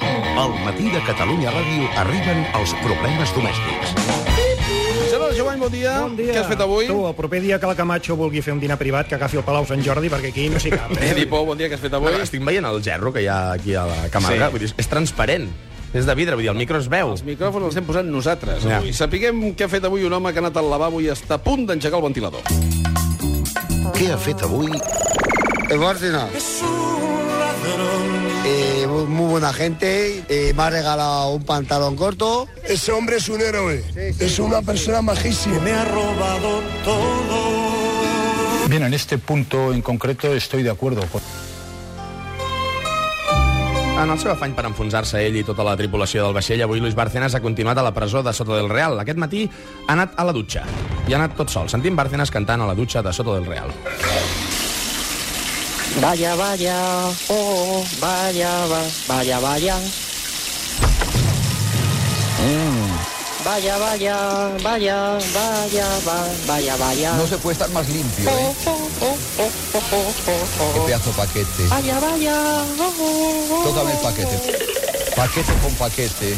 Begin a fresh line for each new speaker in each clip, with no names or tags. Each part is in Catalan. Al matí de Catalunya Ràdio arriben els problemes domèstics.
Gerard Jovany, bon dia.
Bon dia.
Què has fet avui?
Tu, el proper dia que la Camacho vulgui fer un dinar privat, que agafi el Palau Sant Jordi, perquè aquí no s'hi cap. Eh?
Filipó, bon dia, què has fet avui?
Bueno, estic veient el gerro que hi ha aquí a la càmera.
Sí.
Sí. Vull dir, és transparent. És de vidre, vull dir, el micro es veu.
Els micròfons els hem posat nosaltres
Ja.
avui. Sapiguem què ha fet avui un home que ha anat al lavabo i està a punt d'engegar el ventilador.
Què ha fet avui?
El Bárcena. Eh, muy buena gente. eh, me ha regalado un pantalón corto.
Ese hombre es un héroe. es una persona majísima. Me ha robado todo.
Bien, en este punto en concreto estoy de acuerdo con...
En el seu afany per enfonsar-se ell i tota la tripulació del vaixell, avui Luis Bárcenas ha continuat a la presó de Soto del Real. Aquest matí ha anat a la dutxa. I ha anat tot sol, sentint Bárcenas cantant a la dutxa de Soto del Real.
Vaya, vaya, oh, vaya, va- vaya, vaya. Mm. Vaya, vaya, vaya, vaya, va- vaya, vaya.
No se puede estar más limpio, ¿eh?
Oh, oh, oh, oh, oh, oh,
Qué
oh.
pedazo de paquete.
Vaya, vaya, oh, oh, oh.
Tócame el paquete. Paquete con paquete.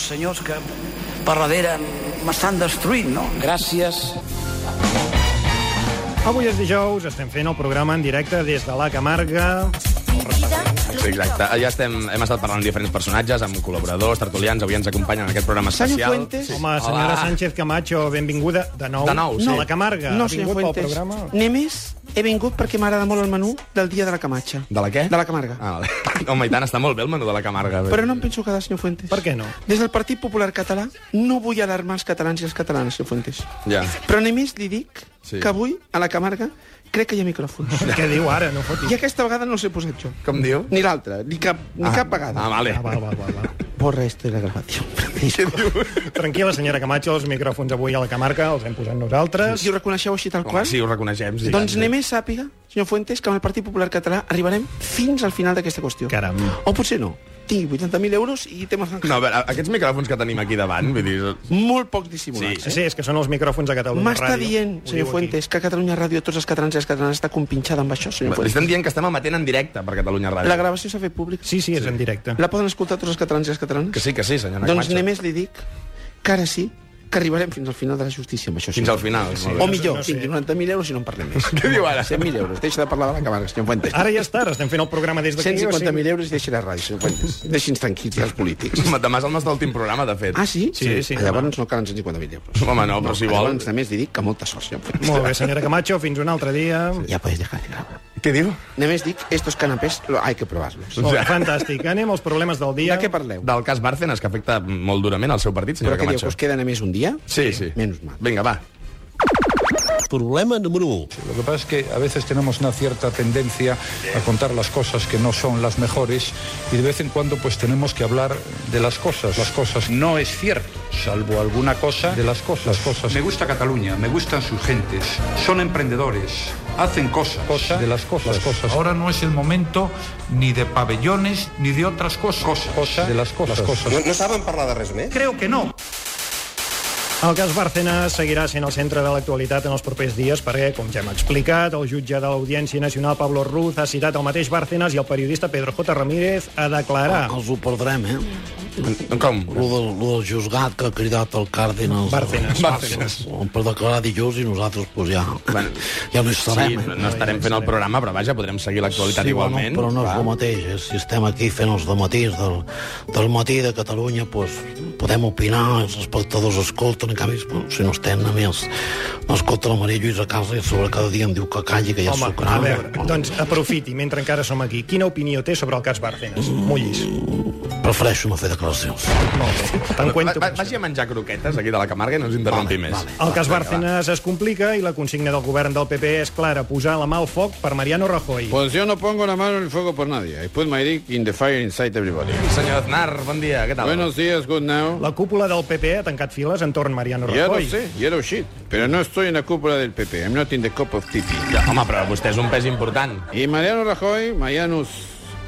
senyors que per darrere m'estan destruint, no? Gràcies.
Avui és dijous, estem fent el programa en directe des de la Camarga.
Sí, exacte. Ja estem, hem estat parlant amb diferents personatges, amb col·laboradors, tertulians, avui ens acompanyen en aquest programa especial.
Sí. Home, senyora
Hola.
Sánchez Camacho, benvinguda de nou,
De nou, sí.
a la Camarga.
No,
ha
senyor
vingut pel
Fuentes.
programa.
Només he vingut perquè m'agrada molt el menú del dia de la Camatxa.
De la què?
De la Camarga.
Ah, vale. Home, i tant, està molt bé el menú de la Camarga.
Però no em penso quedar, senyor Fuentes.
Per què no?
Des del Partit Popular Català no vull alarmar els catalans i les catalanes, senyor Fuentes.
Ja.
Però només li dic
Sí.
sí. que avui, a la Camarga, crec que hi ha micròfons.
Què diu ara? No fotis.
I aquesta vegada no els he posat jo.
Com diu?
Ni l'altra, ni cap, ni ah, cap vegada.
Ah, vale.
Ah, va, va, va, va.
Borra esto de la grabació.
Tranquil·la, senyora Camacho, els micròfons avui a la Camarga els hem posat nosaltres.
Si ho reconeixeu així tal
Home,
qual...
sí, ho reconeixem. Sí.
Doncs
Sí.
anem a sàpiga, senyor Fuentes, que amb el Partit Popular Català arribarem fins al final d'aquesta qüestió.
Caram.
O potser no. Tinc 80.000 euros i tema
No, a veure, aquests micròfons que tenim aquí davant, vull dir...
molt poc dissimulats.
Sí, és que són els micròfons a Catalunya
M'està
Ràdio.
dient,
Ho
senyor
diu aquí.
Fuentes, que Catalunya Ràdio, tots els catalans i les catalanes, està compinxada amb això, senyor
Li
Fuentes.
estem dient que estem emetent en directe per Catalunya Ràdio.
La gravació s'ha fet pública.
Sí, sí, és en directe.
La poden escoltar tots els catalans i les catalanes?
Que eh? sí, que sí, senyora
Doncs
Camacho.
només li dic que ara sí que arribarem fins al final de la justícia amb això.
Fins
senyor
al final. Sí.
O millor,
No
no
sé.
tingui 90.000 euros i no en parlem més.
Què diu ara?
100.000 euros. Deixa de parlar de la Camarga, senyor Fuentes.
Ara ja està, ara estem fent el programa des d'aquí. o sigui-
150.000 euros i deixa la ràdio, senyor Fuentes. Deixi'ns tranquils, ja els polítics.
Demà és el nostre últim programa, de fet.
Ah, sí?
Sí, sí,
Ah, Llavors no calen 150.000 euros.
Home, no, però si vol-
Llavors només li dic que molta sort, senyor Fuentes.
Molt bé, senyora Camacho, fins un altre dia.
Ja puedes dejar de grabar.
Què diu?
Només dic, estos canapés lo- hay que probarlos.
Oh, fantàstic. Anem als problemes del dia.
De què parleu?
Del cas Bárcenas, que afecta molt durament al seu partit, senyora
Però què dieu, que
Camacho.
us queda només un dia?
Sí, sí.
Menys mal.
Vinga, va.
Problema número 1.
Lo que pasa es que a veces tenemos una cierta tendencia a contar las cosas que no son las mejores y de vez en cuando pues tenemos que hablar de las cosas. Las cosas no es cierto, salvo alguna cosa de las cosas. Las cosas. Me gusta Cataluña, me gustan sus gentes, son emprendedores, hacen cosas. de las cosas. cosas. Ahora no es el momento ni de pabellones ni de otras cosas. de las cosas. cosas.
No saben parlar de res més?
Creo que no.
El cas Bárcenas seguirà sent el centre de l'actualitat en els propers dies perquè, com ja hem explicat, el jutge de l'Audiència Nacional, Pablo Ruz, ha citat el mateix Bárcenas i el periodista Pedro J. Ramírez a declarar.
Ah,
Ah,
Els ho perdrem, eh?
Com?
Lo del, lo del juzgat que ha cridat el Cárdenas.
Bárcenas.
Bárcenas.
Per declarar dilluns i nosaltres, pues, ja,
Bueno,
ja no hi
Sí,
serem, eh?
no estarem fent el programa, però vaja, podrem seguir l'actualitat igualment.
Bueno, però no és el mateix, eh? si estem aquí fent els dematís del, del matí de Catalunya, pues, podem opinar, els espectadors escolten, en canvi, bueno, si no estem, a més, no escolta la Maria Lluïsa Casa i a sobre cada dia em diu que calli, que ja eh?
Home,
sucarà.
a veure, doncs aprofiti, mentre encara som aquí. Quina opinió té sobre el cas Bárcenas? Mullis.
Prefereixo no fer declaracions.
Te'n
Va,
cuento.
va, vagi a menjar croquetes aquí de la Camarga i no ens interrompi més.
El cas Bárcenas es complica i la consigna del govern del PP és clara, posar la mà al foc per Mariano Rajoy.
Pues yo no pongo la mano en el fuego por nadie. I put my dick in the fire inside everybody.
Senyor Aznar, bon dia, què tal?
Buenos días, good now.
La cúpula del PP ha tancat files entorn Mariano
Ya lo
Rajoy.
sé, ya lo shit. Pero no estoy en la cúpula del PP. I'm not in the cup of tea.
Ja, home, però vostè és un pes important.
Y Mariano Rajoy, Marianus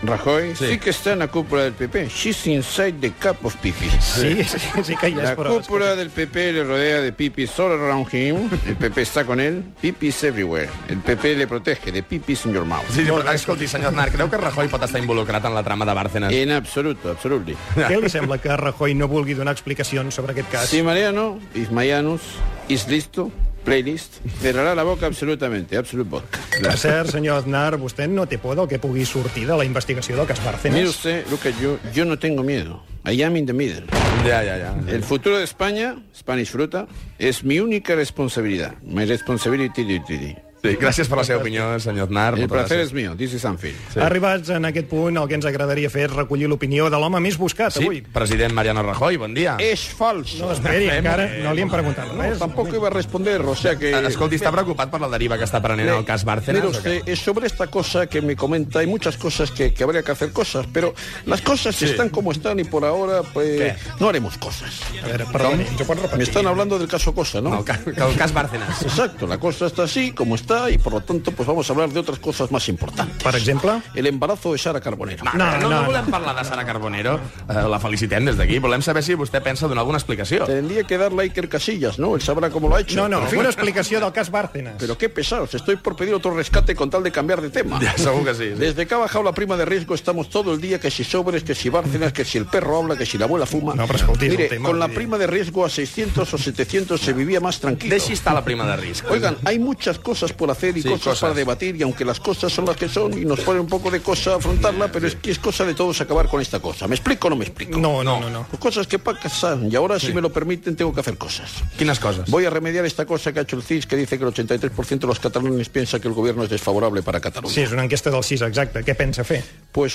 Rajoy sí. sí que està en la cúpula del PP. She's inside the cup of pipi.
Sí, sí, sí que hi és,
La
però...
cúpula del PP le rodea de pipis all around him. El PP està con él. Pipis everywhere. El PP le protege de pipis in your mouth.
Sí, sí, per tant, escolti, senyor Aznar, creu que Rajoy pot estar involucrat en la trama de Bárcenas?
En absoluto, absolutely.
Què li sembla que Rajoy no vulgui donar explicacions sobre aquest cas?
Si Mariano Ismaianos is listo, playlist, cerrará la boca absolutamente, absolute vodka.
Per cert, senyor Aznar, vostè no té por del que pugui sortir de la investigació del cas
Mire
Bárcenas?
usted, look at you, yo no tengo miedo. I am in the middle.
Ja, ja, ja.
El futuro de España, Spanish Fruta, es mi única responsabilidad. My responsibility duty.
Sí, gràcies per la seva opinió, senyor Aznar.
El
Moltes
placer
gràcies.
es mío, this is Anfield.
Sí. Arribats en aquest punt, el que ens agradaria fer és recollir l'opinió de l'home més buscat
Sí,
avui.
president Mariano Rajoy, bon dia.
Es falso.
No, esperi,
Fem-ho
encara
bé.
no li hem preguntat res.
Tampoco iba a responder, o sea que...
Eh, Escolti, està preocupat per la deriva que està prenent el cas Bárcenas?
Mire
o què?
usted, es sobre esta cosa que me comenta, hay muchas cosas que, que habría que hacer cosas, pero las cosas
Sí.
están como están y por ahora pues
¿Qué?
no haremos cosas.
A veure, perdoni, jo pot repetir.
Me están hablando del caso cosa, ¿no?
No, el, ca el cas Bárcenas.
Exacto, la cosa está así como está y por lo tanto pues vamos a hablar de otras cosas más importantes.
Per exemple?
El embarazo de Sara Carbonero.
No, no, no, no volem parlar de Sara Carbonero. Eh, la felicitem des d'aquí. Volem saber si vostè pensa donar alguna explicació.
Tendría que darle a Iker Casillas, ¿no? Él sabrá cómo lo ha hecho.
No, no,
Pero, en fin,
una explicació del cas Bárcenas.
pero qué pesados, estoy por pedir otro rescate con tal de cambiar de tema.
Ja, segur que sí. sí.
Desde que ha bajado la prima de riesgo estamos todo el día que si sobres, que si Bárcenas, que si el perro habla, que si la abuela fuma.
No, pero escolti, és un
Mire,
tema,
con la
sí.
prima de riesgo a 600 o 700 se vivía más tranquilo.
Deixi estar la prima de risc.
Oigan, hay muchas cosas por hacer y
Sí,
cosas,
cosas.
para debatir y aunque las cosas son las que son y nos pone un poco de cosa afrontarla, pero es que es cosa de todos acabar con esta cosa. ¿Me explico o no me explico?
No, no, no, no.
Pues cosas que pasan y ahora si me lo permiten tengo que hacer cosas.
Quines coses?
Voy a remediar esta cosa que ha hecho el CIS que dice que el 83% de los catalanes piensa que el gobierno es desfavorable para Cataluña.
Sí, és una enquesta del 6, exacte. Què pensa fer?
Pues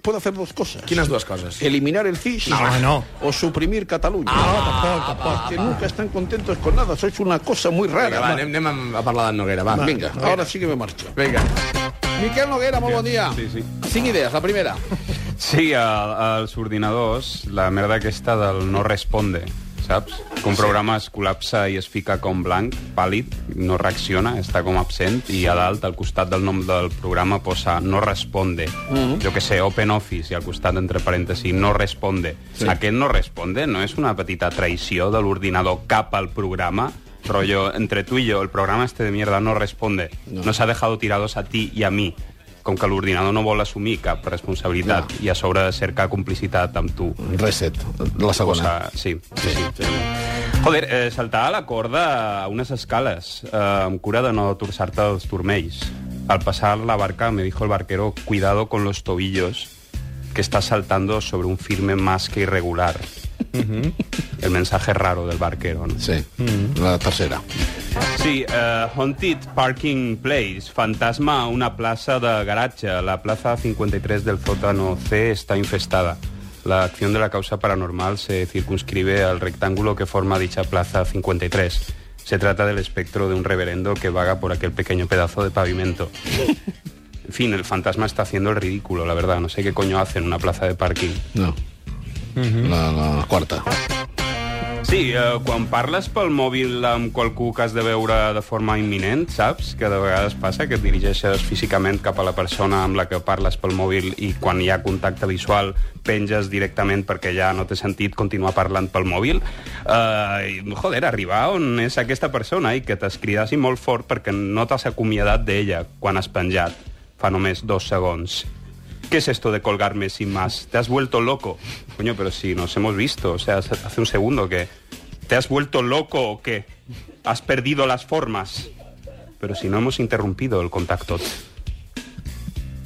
puedo hacer dos cosas.
Quines dues coses?
eliminar el CIS
No, no.
o suprimir Cataluña. Porque nunca están contentos con nada, sois una cosa muy
Vinga,
rara.
Ah, va, anem, anem a- a parlar d'en Noguera, va.
Venga, ahora sí que me marcho.
Vinga.
Miquel Noguera, muy buen día. Sin ideas, la primera.
Sí, a- als ordinadors, la merda aquesta del no responde, saps? Que un programa es col·lapsa i es fica com blanc, pàl·lid, no reacciona, està com absent, i a dalt, al costat del nom del programa, posa no responde. Jo que sé, open office, i al costat, entre parèntesi, no responde.
Sí.
Aquest no responde no és una petita traïció de l'ordinador cap al programa? Rollo, entre tú y yo, el programa este de mierda no responde. Nos ha dejado tirados a ti y a mí. com que l'ordinador no vol assumir cap responsabilitat i a sobre cercar complicitat amb tu.
Reset, la segona.
Cosa, sí, sí, sí. sí. Joder, eh, saltar a la corda a unes escales, eh, amb cura de no torçar-te els turmells. Al pasar la barca me dijo el barquero, cuidado con los tobillos, que estás saltando sobre un firme más que irregular. El mensaje raro del barquero, ¿no?
Sí, la tercera.
Sí, eh, Haunted Parking Place, fantasma a una plaza de garaje. La plaza 53 del sótano C está infestada. La acción de la causa paranormal se circunscribe al rectángulo que forma dicha plaza 53. Se trata del espectro de un reverendo que vaga por aquel pequeño pedazo de pavimento. En fin, el fantasma está haciendo el ridículo, la verdad. No sé qué coño hace en una plaza de parking.
No.
Mhm.
la, la quarta.
Sí, eh, quan parles pel mòbil amb qualcú que has de veure de forma imminent, saps? Que de vegades passa que et dirigeixes físicament cap a la persona amb la que parles pel mòbil i quan hi ha contacte visual penges directament perquè ja no té sentit continuar parlant pel mòbil. Eh, i, joder, arribar on és aquesta persona i que t'escridassi molt fort perquè no t'has acomiadat d'ella quan has penjat fa només dos segons. ¿Qué es esto de colgarme sin más? ¿Te has vuelto loco? Coño, pero si nos hemos visto, o sea, hace hace un segundo que... ¿Te has vuelto loco o qué? ¿Has perdido las formas? Pero si no hemos interrumpido el contacto. ¿Qué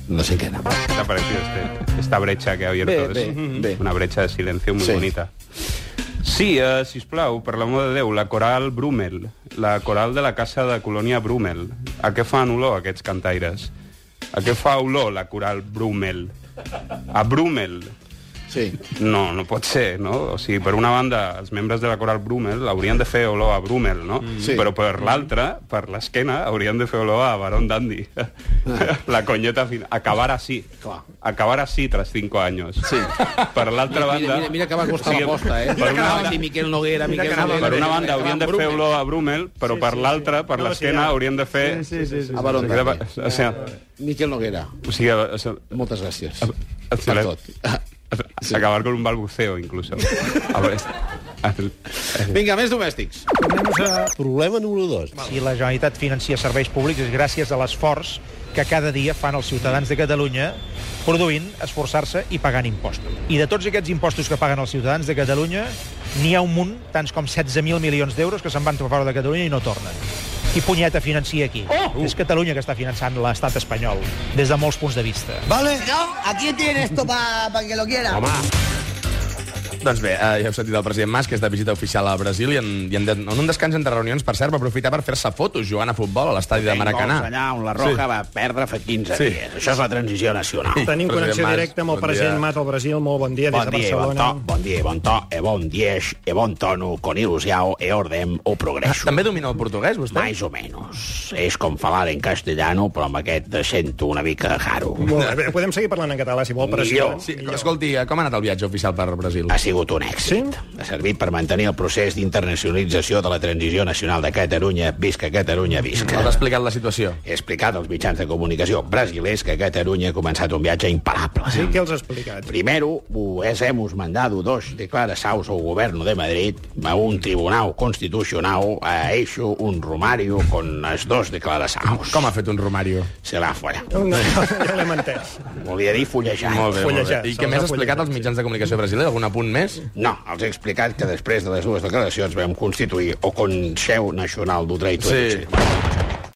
La cinquena.
te ha parecido este- esta brecha que ha abierto?
Ve,
Es
ve, ve.
Una brecha de silencio muy
Sí.
bonita. Sí, eh, sisplau, per l'amor de Déu, la coral Brummel, la coral de la casa de colònia Brummel. A què fan olor aquests cantaires? A què fa olor la coral Brummel? A Brummel. Sí. No, no pot ser, no? O sigui, per una banda, els membres de la coral Brummel haurien de fer olor a Brummel, no? Mm.
Sí.
Però per l'altra, per l'esquena, haurien de fer olor a Barón Dandy. la conyeta final. Acabar així.
Clar.
Acabar així tras cinco años. Sí. Per l'altra
Mira,
banda...
mira, mira que va costar la aposta, eh?
Per una,
Anava a dir Miquel Noguera, Miquel
banda,
Noguera.
per una banda haurien de fer
Brummel.
olor a Brummel, però per l'altra, per l'esquena, haurien de fer...
Sí, sí, sí. sí. A Barón Dandy.
O sigui,
Miquel Noguera.
o sigui, o sigui,
Moltes gràcies.
Ah, per tot. Acabar con un balbuceo, incluso. A ver,
Vinga, més domèstics.
Problema número 2. Si la Generalitat financia serveis públics és gràcies a l'esforç que cada dia fan els ciutadans de Catalunya produint, esforçar-se i pagant impostos. I de tots aquests impostos que paguen els ciutadans de Catalunya, n'hi ha un munt, tants com 16.000 milions d'euros, que se'n van fora de Catalunya i no tornen. Qui punyeta financia aquí? Oh! És Catalunya que està finançant l'estat espanyol, des de molts punts de vista.
Vale. aquí tiene esto para que lo quiera.
Doncs bé, eh, ja heu sentit el president Mas, que és de visita oficial a Brasil, i en, i en, en un descans entre reunions, per cert, va aprofitar per fer-se fotos jugant a futbol a l'estadi de Maracanà.
Allà on la Roja sí. va perdre fa 15
Sí.
sí. dies. Això és la transició nacional.
Tenim connexió directa amb el president Mas al Brasil. Molt bon dia
Bon
des de
dia, i bon
Barcelona.
to, bon dia, i bon to, e bon dies, e bon tono, con ilusió, e ordem, o progresso.
Ah, També domina el portuguès, vostè?
Més o menys. És com falar en castellano, però amb aquest sento una mica raro.
Molt bé, podem seguir parlant en català, si vol, president.
Sí, escolti, eh, com ha anat el viatge oficial per Brasil?
Ha sigut un èxit. Sí? Ha servit per mantenir el procés d'internacionalització de la transició nacional de Catalunya. Visca Catalunya, visca.
Has explicat la situació.
He explicat als mitjans de comunicació brasilers que Catalunya ha començat un viatge imparable.
Sí, què els ha explicat?
Primero, pues hemos mandado dos declaraciones al gobierno de Madrid, a un tribunal constitucional, ha hecho un romario con las dos declaraciones.
Com ha fet un romario?
Se l'ha fuera.
No, ja l'hem entès.
Volia dir fullejat.
Molt bé, molt bé.
Fullejat,
I
se'ls
què més
ha
ha explicat als mitjans de comunicació brasileros? Algun apunt més?
No, els he explicat que després de les dues declaracions vam constituir o Consell Nacional do Direito
Sí.
sí.